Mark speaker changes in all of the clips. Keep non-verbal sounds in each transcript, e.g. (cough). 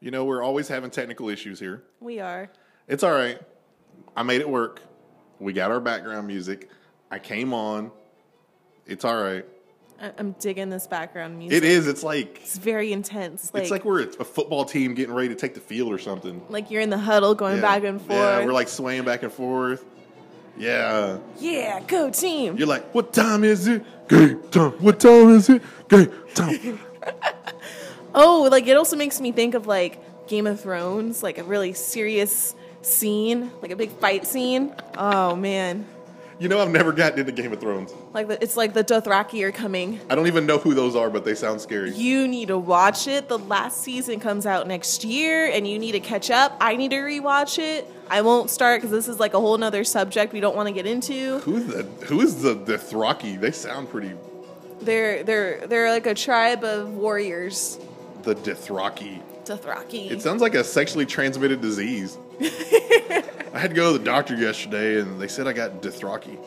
Speaker 1: You know, we're always having technical issues here.
Speaker 2: We are.
Speaker 1: It's all right. I made it work. We got our background music. I came on. It's all right.
Speaker 2: I- I'm digging this background music.
Speaker 1: It is. It's like
Speaker 2: It's very intense. Like,
Speaker 1: it's like we're a football team getting ready to take the field or something.
Speaker 2: like you're in the huddle going
Speaker 1: Yeah.
Speaker 2: back and forth.
Speaker 1: Yeah, we're like swaying back and forth. Yeah.
Speaker 2: Yeah, go team.
Speaker 1: You're like, what time is it? Game time. What time is it? Game
Speaker 2: (laughs)
Speaker 1: time.
Speaker 2: Oh, like it also makes me think of like Game of Thrones, like a really serious scene, like a big fight scene. Oh man,
Speaker 1: you know, I've never gotten into Game of Thrones.
Speaker 2: like the, it's like the Dothraki are coming.
Speaker 1: I don't even know who those are, but they sound scary.
Speaker 2: You need to watch it. The last season comes out next year, and you need to catch up. I need to rewatch it. I won't start because this is like a whole nother subject we don't want to get into.
Speaker 1: Who's the who is the the Dothraki? They sound pretty.
Speaker 2: They're they're they're like a tribe of warriors,
Speaker 1: The Dithraki.
Speaker 2: Dothraki.
Speaker 1: It sounds like a sexually transmitted
Speaker 2: (laughs)
Speaker 1: disease. I had to go to the doctor yesterday, and they said I got Dithraki.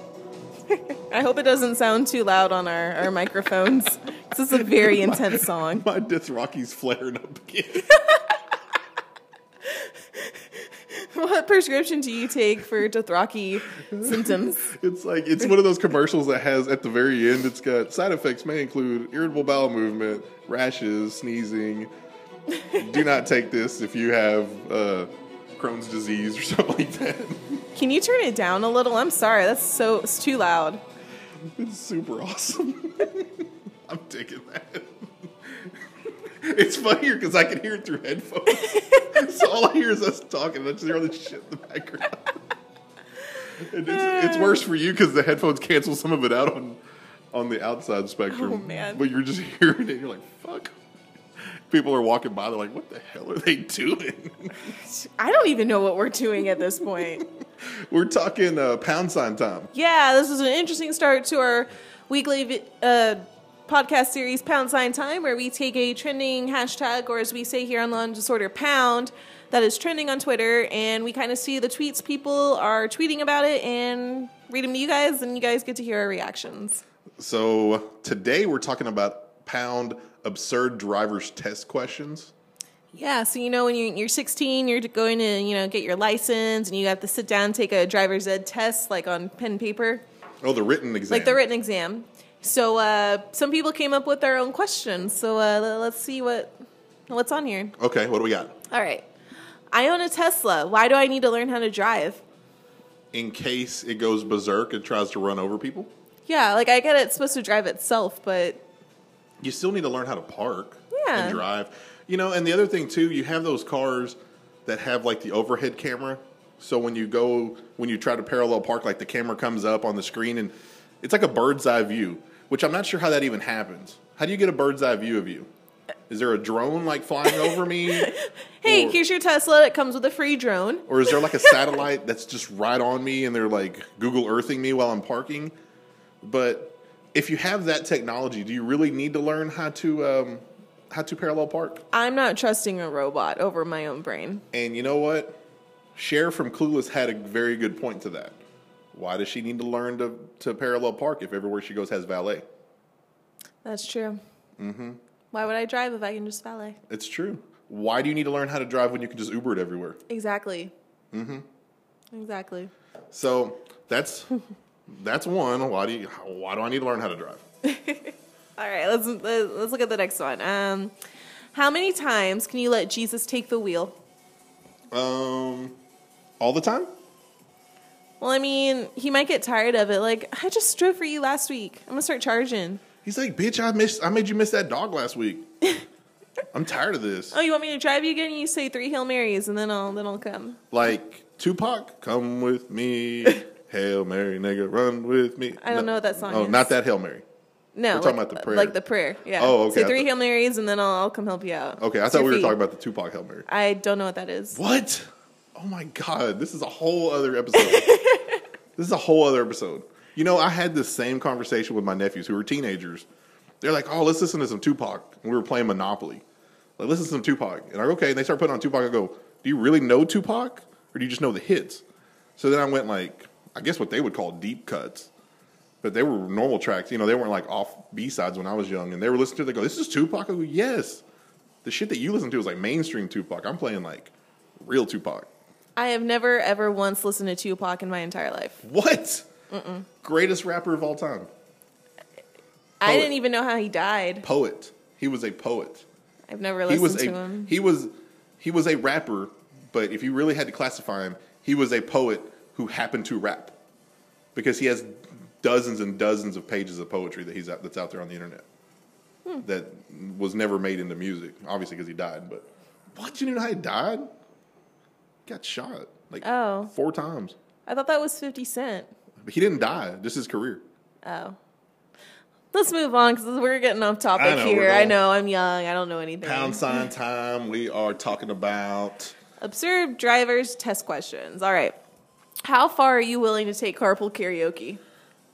Speaker 2: I hope it doesn't sound too loud on our, our microphones. This is a very intense song.
Speaker 1: (laughs) My Dithraki's flaring up again. (laughs)
Speaker 2: What prescription do you take for Dothraki symptoms?
Speaker 1: It's like it's one of those commercials that has at the very end. It's got side effects may include irritable bowel movement, rashes, sneezing. Do not take this if you have uh, Crohn's disease or something like that.
Speaker 2: Can you turn it down a little? I'm sorry, that's so it's too loud.
Speaker 1: It's super awesome. (laughs) I'm taking that. It's funnier because I can hear it through headphones. so all I hear is us talking. That's the only shit in the background. And it's, it's worse for you because the headphones cancel some of it out on on the outside spectrum.
Speaker 2: Oh, man.
Speaker 1: But you're just (laughs) hearing it. You're like, fuck. People are walking by. They're like, what the hell are they doing? (laughs)
Speaker 2: I don't even know what we're doing at this point.
Speaker 1: We're talking uh, pound sign time.
Speaker 2: Yeah, this is an interesting start to our weekly vi- uh, podcast series, Pound Sign Time, where we take a trending hashtag, or as we say here on Lawn Disorder, pound, that is trending on Twitter, and we kind of see the tweets people are tweeting about it and read them to you guys, and you guys get to hear our reactions.
Speaker 1: So today we're talking about pound absurd driver's test questions.
Speaker 2: Yeah, so you know when you're, you're 16, you're going to you know get your license, and you have to sit down and take a driver's ed test, like on pen and paper.
Speaker 1: Oh, the written exam.
Speaker 2: like the written exam. So uh, some people came up with their own questions. So uh, le- let's see what what's on here.
Speaker 1: Okay, what do we got?
Speaker 2: All right, I own a Tesla. Why do I need to learn how to drive?
Speaker 1: In case it goes berserk and tries to run over people,
Speaker 2: Yeah, like I get it's supposed to drive itself, but
Speaker 1: you still need to learn how to park
Speaker 2: Yeah.
Speaker 1: and drive. You know, and the other thing too, you have those cars that have like the overhead camera. So when you go, when you try to parallel park, like the camera comes up on the screen and it's like a bird's eye view, which I'm not sure how that even happens. How do you get a bird's eye view of you? Is there a drone like flying over me?
Speaker 2: (laughs) hey,
Speaker 1: Or-
Speaker 2: here's your Tesla. It comes with a free drone.
Speaker 1: Or is there like a satellite that's just right on me and they're like Google Earthing me while I'm parking? But if you have that technology, do you really need to learn how to um, how to parallel park?
Speaker 2: I'm not trusting a robot over my own brain.
Speaker 1: And you know what? Cher from Clueless had a very good point to that. Why does she need to learn to, to parallel park if everywhere she goes has valet?
Speaker 2: That's true. Mm-hmm. Why would I drive if I can just valet?
Speaker 1: It's true. Why do you need to learn how to drive when you can just Uber it everywhere?
Speaker 2: Exactly. Mm-hmm. Exactly.
Speaker 1: So that's that's one. Why do you, why do I need to learn how to drive?
Speaker 2: All right, let's let's look at the next one. Um, how many times can you let Jesus take the wheel?
Speaker 1: Um, all the time.
Speaker 2: Well, I mean, he might get tired of it. Like, I just drove for you last week. I'm gonna start charging.
Speaker 1: He's like, bitch, I missed. I made you miss that dog last week.
Speaker 2: (laughs)
Speaker 1: I'm tired of this.
Speaker 2: Oh, you want me to drive you again? You say three Hail Marys, and then I'll then I'll come.
Speaker 1: Like Tupac, come with
Speaker 2: (laughs)
Speaker 1: me. Hail Mary, nigga, run with me.
Speaker 2: I don't know what that song
Speaker 1: Oh,
Speaker 2: is.
Speaker 1: not that Hail Mary.
Speaker 2: No,
Speaker 1: We're talking
Speaker 2: like-
Speaker 1: about the prayer.
Speaker 2: Like the prayer. Yeah.
Speaker 1: Oh, okay.
Speaker 2: Say three Hail Marys, and then I'll, I'll come help you out.
Speaker 1: Okay, I
Speaker 2: It's your
Speaker 1: thought we were
Speaker 2: feet.
Speaker 1: talking about the Tupac Hail Mary.
Speaker 2: I don't know what that is.
Speaker 1: What? Oh my god, this is a whole other episode. this is a whole other episode. You know, I had this same conversation with my nephews who were teenagers. They're like, "Oh, let's listen to some Tupac." And we were playing Monopoly. Like, listen to some Tupac. And I go, "Okay." And they start putting on Tupac. I go, "Do you really know Tupac, or do you just know the hits?" So then I went like, I guess what they would call deep cuts, but they were normal tracks. You know, they weren't like off B sides when I was young. And they were listening to. It, they go, "This is Tupac." I go, "Yes." The shit that you listen to is like mainstream Tupac. I'm playing like real Tupac.
Speaker 2: I have never ever once listened to Tupac in my entire life.
Speaker 1: What? Greatest rapper of all time.
Speaker 2: I
Speaker 1: Poet.
Speaker 2: didn't even know how he died.
Speaker 1: Poet. He was a poet.
Speaker 2: I've never
Speaker 1: he
Speaker 2: listened
Speaker 1: was
Speaker 2: to
Speaker 1: a
Speaker 2: him.
Speaker 1: he was he was a rapper, but if you really had to classify him, he was a poet who happened to rap because he has dozens and dozens of pages of poetry that he's out, that's out there on the internet
Speaker 2: Hmm.
Speaker 1: that was never made into music, obviously because he died. But what you didn't know how he died? Got shot like
Speaker 2: Oh.
Speaker 1: four times.
Speaker 2: I thought that was 50 Cent.
Speaker 1: He didn't die. Just his career.
Speaker 2: Oh. Let's move on because we're getting off topic
Speaker 1: know, we're
Speaker 2: here. I
Speaker 1: going-
Speaker 2: know I'm young. I don't know anything.
Speaker 1: Pound
Speaker 2: (laughs)
Speaker 1: sign time. We are talking about.
Speaker 2: Observe drivers test questions. All right. How far are you willing to take carpool karaoke?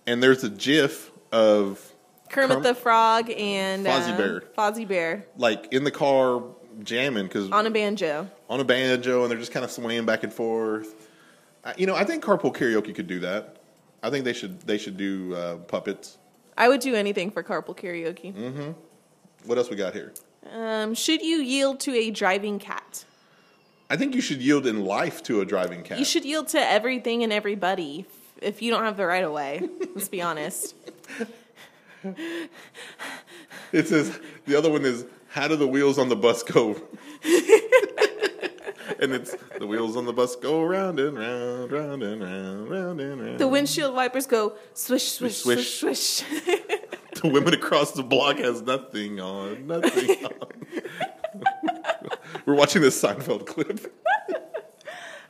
Speaker 1: And there's a GIF of
Speaker 2: Kermit
Speaker 1: Kerm-
Speaker 2: the Frog and
Speaker 1: Fozzie
Speaker 2: uh,
Speaker 1: Bear.
Speaker 2: Fozzie Bear
Speaker 1: like in the car jamming because
Speaker 2: on a banjo.
Speaker 1: on a banjo and they're just kind of swaying back and forth. I, you know, I think carpool karaoke could do that. I think they should they should do uh, puppets.
Speaker 2: I would do anything for carpool karaoke.
Speaker 1: Mm-hmm. What else we got here?
Speaker 2: Um, should you yield to a driving cat?
Speaker 1: I think you should yield in life to a driving cat.
Speaker 2: You should yield to everything and everybody if you don't have the right of way. Let's be honest.
Speaker 1: It says the other one is how do the wheels on the bus
Speaker 2: (laughs)
Speaker 1: go? and it's the wheels on the bus go round and round, round and round, round and round. (laughs)
Speaker 2: The windshield wipers go swish, swish, swish,
Speaker 1: Swish,
Speaker 2: swish. (laughs)
Speaker 1: (laughs) The women across the block has nothing on, nothing on. We're watching this Seinfeld (laughs) clip.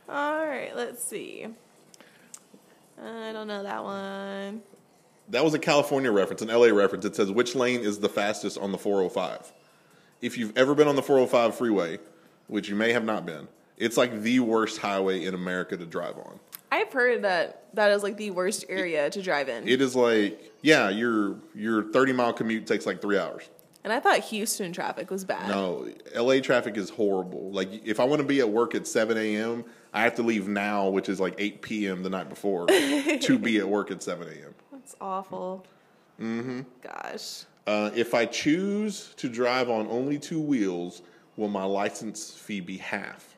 Speaker 2: All right, let's see. I don't know that one.
Speaker 1: That was a California reference, an LA reference. It says, which lane is the fastest on the 405? If you've ever been on the 405 freeway, which you may have not been, it's like the worst highway in America to drive on.
Speaker 2: I've heard that that is like the worst area to drive in.
Speaker 1: It is like, yeah, your your 30 mile commute takes like three hours.
Speaker 2: and I thought Houston traffic was bad.
Speaker 1: No, LA traffic is horrible. Like, if I want to be at work at 7 a.m., I have to leave now, which is like 8 p.m. the night before, to be at work at 7 a.m.
Speaker 2: That's awful. Mm-hmm. Gosh.
Speaker 1: Uh, if I choose to drive on only two wheels, will my license fee be half?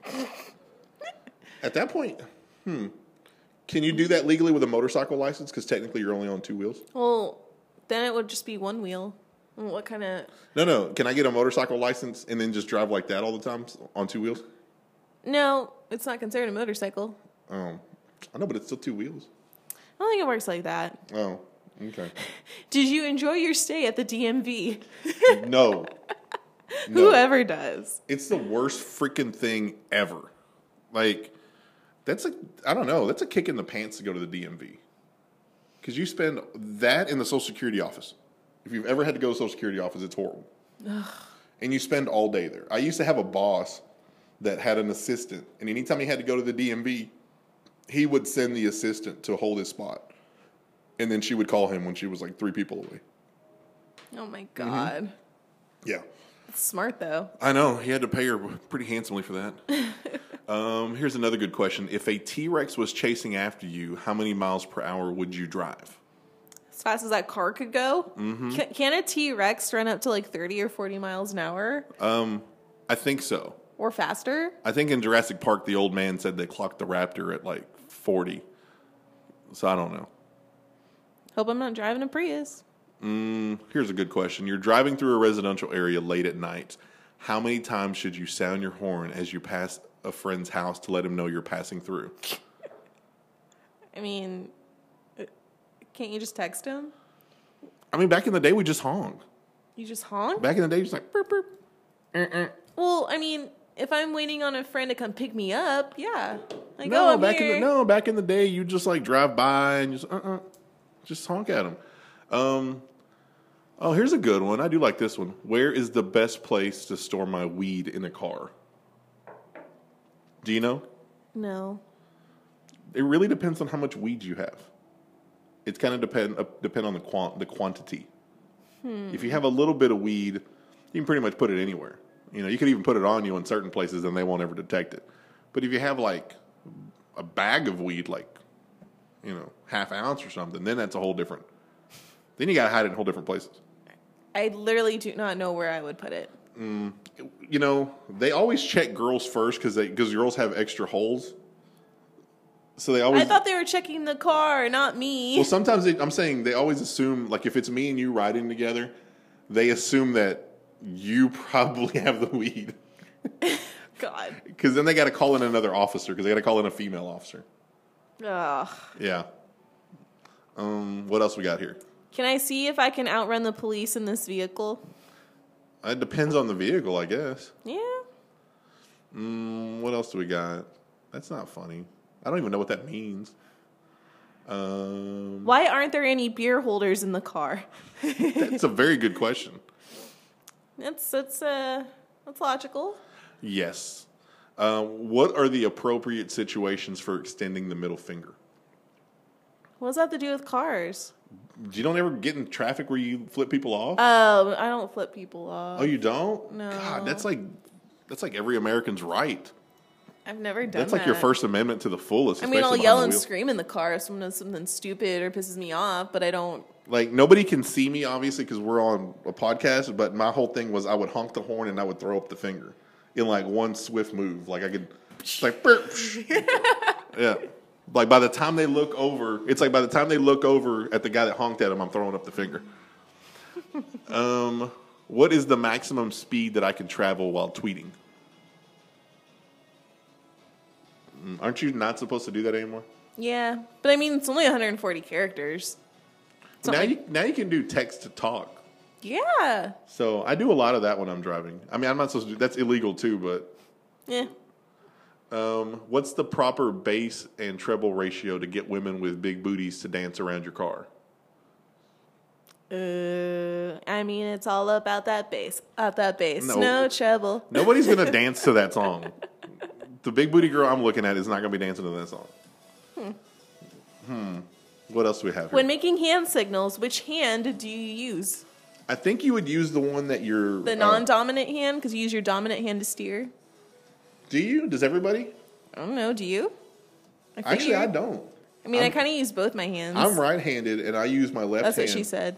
Speaker 1: At that point, hmm. Can you do that legally with a motorcycle license? Because technically you're only on two wheels.
Speaker 2: Well, then it would just be one wheel. And What kind of.
Speaker 1: No, no. Can I get a motorcycle license and then just drive like that all the time s- on two wheels?
Speaker 2: No, it's not considered a motorcycle.
Speaker 1: Um, I know, but it's still two wheels.
Speaker 2: I don't think it works like that.
Speaker 1: Oh, okay.
Speaker 2: Did you enjoy your stay at the DMV?
Speaker 1: No. No.
Speaker 2: Whoever does.
Speaker 1: It's the worst freaking thing ever. Like, that's a, I don't know, that's a kick in the pants to go to the DMV. Because you spend that in the Social Security office. If you've ever had to go to the Social Security office, it's horrible. And you spend all day there. I used to have a boss that had an assistant, and anytime he had to go to the DMV, he would send the assistant to hold his spot. And then she would call him when she was like three people away.
Speaker 2: Oh
Speaker 1: Mm-hmm.
Speaker 2: my God.
Speaker 1: Yeah.
Speaker 2: That's smart though.
Speaker 1: I know he had to pay her pretty handsomely for that. (laughs) um, here's another good question: If a T Rex was chasing after you, how many miles per hour would you drive?
Speaker 2: As fast as that car could go.
Speaker 1: Mm-hmm.
Speaker 2: Ca- can a T Rex run up to like 30 or 40 miles an hour
Speaker 1: Uh. I think so.
Speaker 2: or faster?
Speaker 1: I think in Jurassic Park, the old man said they clocked the raptor at like forty. So I don't know.
Speaker 2: Hope I'm not driving a Prius.
Speaker 1: Here's a good question: You're driving through a residential area late at night. How many times should you sound your horn as you pass a friend's house to let him know you're passing through?
Speaker 2: I mean, uh, can't you just text him?
Speaker 1: I mean, back in the day, we just honked.
Speaker 2: You just honk?
Speaker 1: Back in the day, just like burp burp.
Speaker 2: Well, I mean, if I'm waiting on a friend to come pick me up, yeah. Like,
Speaker 1: No,
Speaker 2: oh, I'm
Speaker 1: back
Speaker 2: here.
Speaker 1: in the no, back in the day, you just like drive by and just uh uh just honk at them. Um, oh, here's a good one. I do like this one. Where is the best place to store my weed in a car? Do you know?
Speaker 2: No.
Speaker 1: It really depends on how much weed you have. It's kind of depend uh, depend on the quant the quantity.
Speaker 2: Hmm.
Speaker 1: If you have a little bit of weed, you can pretty much put it anywhere. You know, you could even put it on you in certain places and they won't ever detect it. But if you have like a bag of weed, like you know, half ounce or something, then that's a whole different. Then you gotta hide it in whole different places.
Speaker 2: I literally do not know where I would put it.
Speaker 1: you know, they always check girls first because they because girls have extra holes. So they always
Speaker 2: I thought they were checking the car, not me.
Speaker 1: Well, sometimes they, I'm saying they always assume, like, if it's me and you riding together, they assume that you (laughs) probably have the weed.
Speaker 2: God.
Speaker 1: Because then they got to call in another officer, because they got to call in a female officer.
Speaker 2: Ugh.
Speaker 1: Yeah. Um, what else we got here?
Speaker 2: Can I see if I can outrun the police in this vehicle?
Speaker 1: Uh, It depends on the vehicle, I guess.
Speaker 2: Yeah.
Speaker 1: Mm, what else do we got? That's not funny. I don't even know what that means. Um,
Speaker 2: Why aren't there any beer holders in the car?
Speaker 1: that's a very good question.
Speaker 2: That's that's uh that's logical.
Speaker 1: Yes. Uh, what are the appropriate situations for extending the middle finger?
Speaker 2: What does that have to do with cars?
Speaker 1: You don't ever get in traffic where you flip people off?
Speaker 2: Oh, I don't flip people off.
Speaker 1: oh, you don't?
Speaker 2: no.
Speaker 1: God, that's like that's like every American's right.
Speaker 2: I've never done
Speaker 1: that's like your
Speaker 2: that.
Speaker 1: First Amendment to the fullest.
Speaker 2: I mean, I'll
Speaker 1: especially
Speaker 2: yell
Speaker 1: behind
Speaker 2: and
Speaker 1: the wheel.
Speaker 2: scream in the car if someone does something stupid or pisses me off, but I don't.
Speaker 1: Like nobody can see me, obviously, because we're on a podcast. But my whole thing was I would honk the horn and I would throw up the finger in like one swift move. Like I could, it's like burp. yeah. Like by the time they look over, it's like by the time they look over at the guy that honked at him, I'm throwing up the finger. um, what is the maximum speed that I can travel while tweeting? Mm, Aren't you not supposed to do that anymore?
Speaker 2: Yeah, but I mean, it's only 140 characters. It's not
Speaker 1: now
Speaker 2: like-
Speaker 1: you now you can do text to talk.
Speaker 2: yeah.
Speaker 1: So I do a lot of that when I'm driving. I mean, I'm not supposed to. do That's illegal too. But
Speaker 2: Yeah.
Speaker 1: um, what's the proper bass and treble ratio to get women with big booties to dance around your car?
Speaker 2: Uh, I mean, it's all about that bass. Up that bass.
Speaker 1: No.
Speaker 2: No, trouble.
Speaker 1: Nobody's
Speaker 2: (laughs)
Speaker 1: gonna dance to that song. The big booty girl I'm looking at is not gonna be dancing to that song. Hmm. What else do we have? Here?
Speaker 2: When making hand signals, which hand do you use?
Speaker 1: I think you would use the one that you're
Speaker 2: The
Speaker 1: uh,
Speaker 2: non-dominant hand, because you use your dominant hand to steer.
Speaker 1: do you? Does everybody?
Speaker 2: I don't know. Do you? I
Speaker 1: Actually,
Speaker 2: figure-
Speaker 1: I don't.
Speaker 2: I mean, i
Speaker 1: I'm-
Speaker 2: kind of use both my hands.
Speaker 1: I'm right-handed and I use my left
Speaker 2: That's
Speaker 1: hand.
Speaker 2: what she said.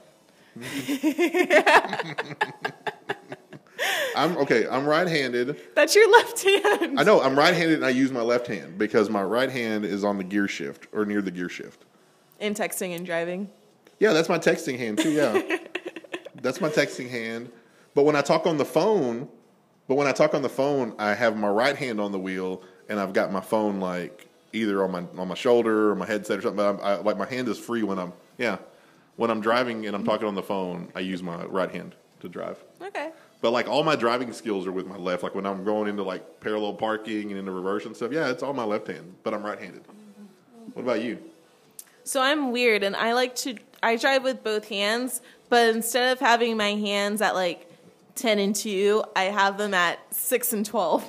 Speaker 1: I'm okay. I'm right-handed.
Speaker 2: That's your (laughs) left hand.
Speaker 1: I know I'm right-handed and I use my left hand because my right hand is on the gear shift or near the gear shift.
Speaker 2: In texting and driving.
Speaker 1: Yeah, that's my texting hand too. Yeah, that's my texting hand. But when I talk on the phone, but when I talk on the phone, I have my right hand on the wheel and I've got my phone like either on my on my shoulder or my headset or something. But I'm, I, like my hand is free when I'm yeah when I'm driving and I'm talking on the phone. I use my right hand to drive.
Speaker 2: Okay.
Speaker 1: But like all my driving skills are with my left. Like when I'm going into like parallel parking and into reverse and stuff, yeah, it's all my left hand. But I'm right-handed. What about you? (laughs)
Speaker 2: So I'm weird, and I like to I drive with both hands, but instead of having my hands at like ten and two, I have them at six and twelve.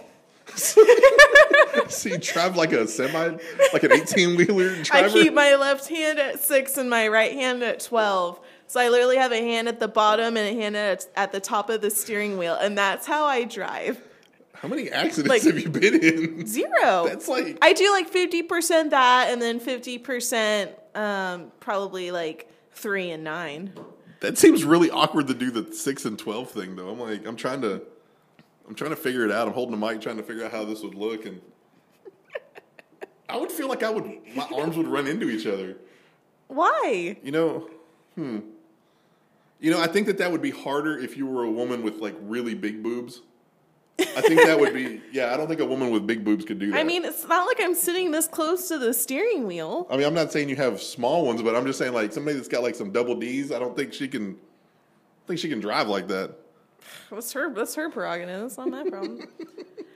Speaker 1: So you drive like a semi, like an 18 wheeler driver.
Speaker 2: I keep my left hand at six and my right hand at twelve. So I literally have a hand at the bottom and a hand at, at the top of the steering wheel, and that's how I drive.
Speaker 1: How many accidents
Speaker 2: Like-
Speaker 1: have you been in?
Speaker 2: (laughs) Zero.
Speaker 1: That's like-
Speaker 2: I do like fifty percent that, and then fifty percent um, probably like three and nine.
Speaker 1: That seems really awkward to do the six and 12 thing though. I'm like, I'm trying to, I'm trying to figure it out. I'm holding the mic, trying to figure out how this would look, and I would feel like I would, my arms would run into each other.
Speaker 2: Why?
Speaker 1: You know, hmm. You know, I think that that would be harder if you were a woman with like really big boobs. I think that would
Speaker 2: (laughs)
Speaker 1: be, yeah. I don't think a woman with big boobs could do that.
Speaker 2: I mean, it's not like I'm sitting this close to the steering wheel.
Speaker 1: I mean, I'm not saying you have small ones, but I'm just saying like somebody that's got like some double D's. I don't think she can. I don't think she can drive like that.
Speaker 2: That's her. That's her prerogative. That's not my problem.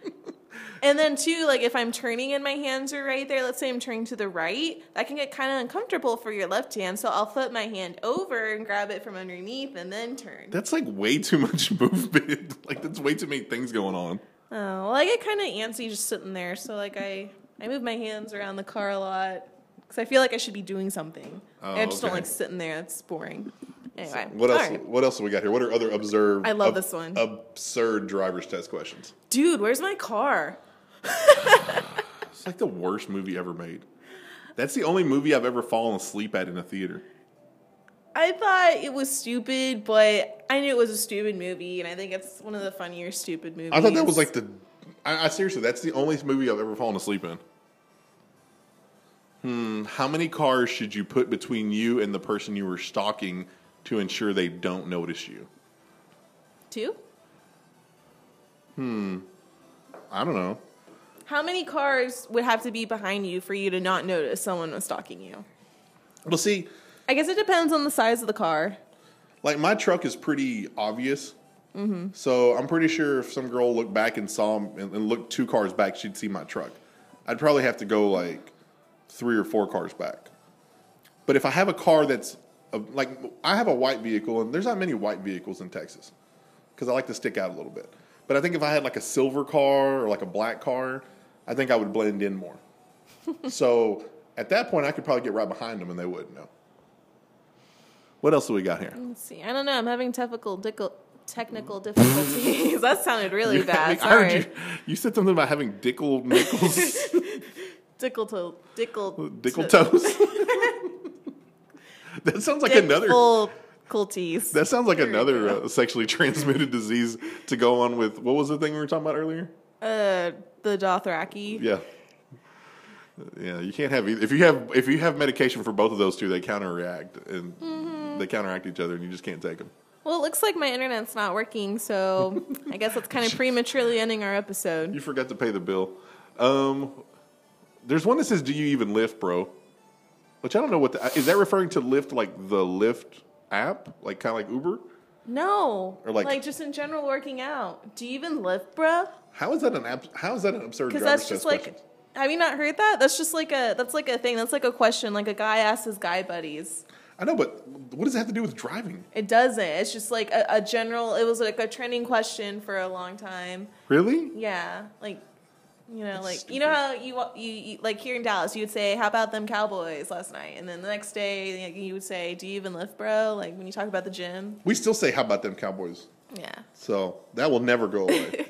Speaker 2: (laughs) and then too, like if I'm turning and my hands are right there, let's say I'm turning to the right, that can get kind of uncomfortable for your left hand. So I'll flip my hand over and grab it from underneath and then turn.
Speaker 1: That's like way too much (laughs) movement. like that's way too many things going on.
Speaker 2: Oh, well, I get kind of antsy just sitting there. So like I, I move my hands around the car a lot because I feel like I should be doing something.
Speaker 1: Oh,
Speaker 2: I just don't
Speaker 1: okay.
Speaker 2: like sitting there. It's boring. Anyway,
Speaker 1: What
Speaker 2: all
Speaker 1: else?
Speaker 2: right.
Speaker 1: What else do we got here? What are other observed?
Speaker 2: I love this one.
Speaker 1: Absurd driver's test questions.
Speaker 2: Dude, where's my car?
Speaker 1: It's like the worst movie ever made. That's the only movie I've ever fallen asleep at in a theater.
Speaker 2: I thought it was stupid, but I knew it was a stupid movie, and I think it's one of the funnier stupid movies.
Speaker 1: I thought that was like the. I, I seriously, that's the only movie I've ever fallen asleep in. Hmm. How many cars should you put between you and the person you were stalking to ensure they don't notice you?
Speaker 2: two.
Speaker 1: I don't know.
Speaker 2: How many cars would have to be behind you for you to not notice someone was stalking you?
Speaker 1: Well, see,
Speaker 2: I guess it depends on the size of the car.
Speaker 1: like my truck is pretty obvious. So I'm pretty sure if some girl looked back and saw and, and looked two cars back, she'd see my truck. I'd probably have to go like three or four cars back. But if I have a car that's a, like I have a white vehicle, and there's not many white vehicles in Texas because I like to stick out a little bit. But I think if I had like a silver car or like a black car, I think I would blend in more. so at that point, I could probably get right behind them, and they wouldn't know. What else do we got here?
Speaker 2: Let's see. I don't know. I'm having technical dickle- technical difficulties. (laughs) that sounded really
Speaker 1: You had
Speaker 2: bad.
Speaker 1: me- I heard
Speaker 2: Sorry.
Speaker 1: you. You said something about having
Speaker 2: (laughs)
Speaker 1: dickle nickels,
Speaker 2: Dickle toe. Dickle.
Speaker 1: dickle toes. (laughs) that sounds like another.
Speaker 2: Difficulties.
Speaker 1: That sounds like
Speaker 2: There we
Speaker 1: another
Speaker 2: go.
Speaker 1: uh, sexually transmitted disease to go on with. What was the thing we were talking about earlier?
Speaker 2: Uh, the Dothraki.
Speaker 1: Yeah, yeah. You can't have either. if you have if you have medication for both of those two, they counteract and
Speaker 2: Mm-hmm.
Speaker 1: they counteract each other, and you just can't take them.
Speaker 2: Well, it looks like my internet's not
Speaker 1: (laughs)
Speaker 2: working, so I guess that's kind of prematurely ending our episode.
Speaker 1: You forgot to pay the bill. Um, there's one that says, "Do you even lift, bro?" Which I don't know what the, is that referring to. Lyft like the Lyft app, like kind of like Uber.
Speaker 2: No.
Speaker 1: Or like-
Speaker 2: just in general working out. Do you even lift, bruh?
Speaker 1: How is that an ab- how is that an absurd?
Speaker 2: Because
Speaker 1: Because
Speaker 2: that's just like. Have you not heard that? That's just like a that's like a thing. That's like a question. Like a guy asks his guy buddies.
Speaker 1: I know, but what does it have to do with driving?
Speaker 2: It doesn't. It's just like a, a general. It was like a trending question for a long time.
Speaker 1: Really?
Speaker 2: Yeah, like you know,
Speaker 1: That's
Speaker 2: like you
Speaker 1: stupid.
Speaker 2: know how you, wa- you you like here in Dallas, you would say, "How about them Cowboys last night?" And then the next day, like, you would say, "Do you even lift, bro?" Like when you talk about the gym.
Speaker 1: We still say, "How about them Cowboys?"
Speaker 2: Yeah.
Speaker 1: So that will never go away.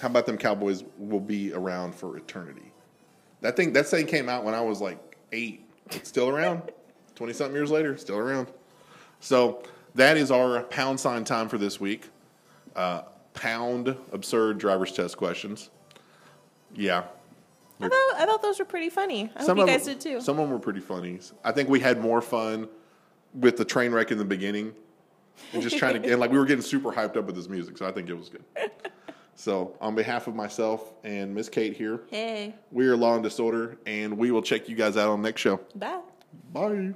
Speaker 1: how about them Cowboys will be around for eternity. That thing that saying came out when I was like eight. It's still around. Twenty something years later, still around. So that is our pound sign time for this week. Uh, pound absurd driver's test questions. Yeah.
Speaker 2: I thought, I thought those were pretty funny. I hope you guys did too.
Speaker 1: Some of them were pretty funny. I think we had more fun with the train wreck in the beginning, and just trying to
Speaker 2: (laughs)
Speaker 1: and like we were getting super hyped up with this music, so I think it was good. so on behalf of myself and Miss Kate here,
Speaker 2: hey,
Speaker 1: we are Law and Disorder, and we will check you guys out on the next show.
Speaker 2: bye.
Speaker 1: Bye.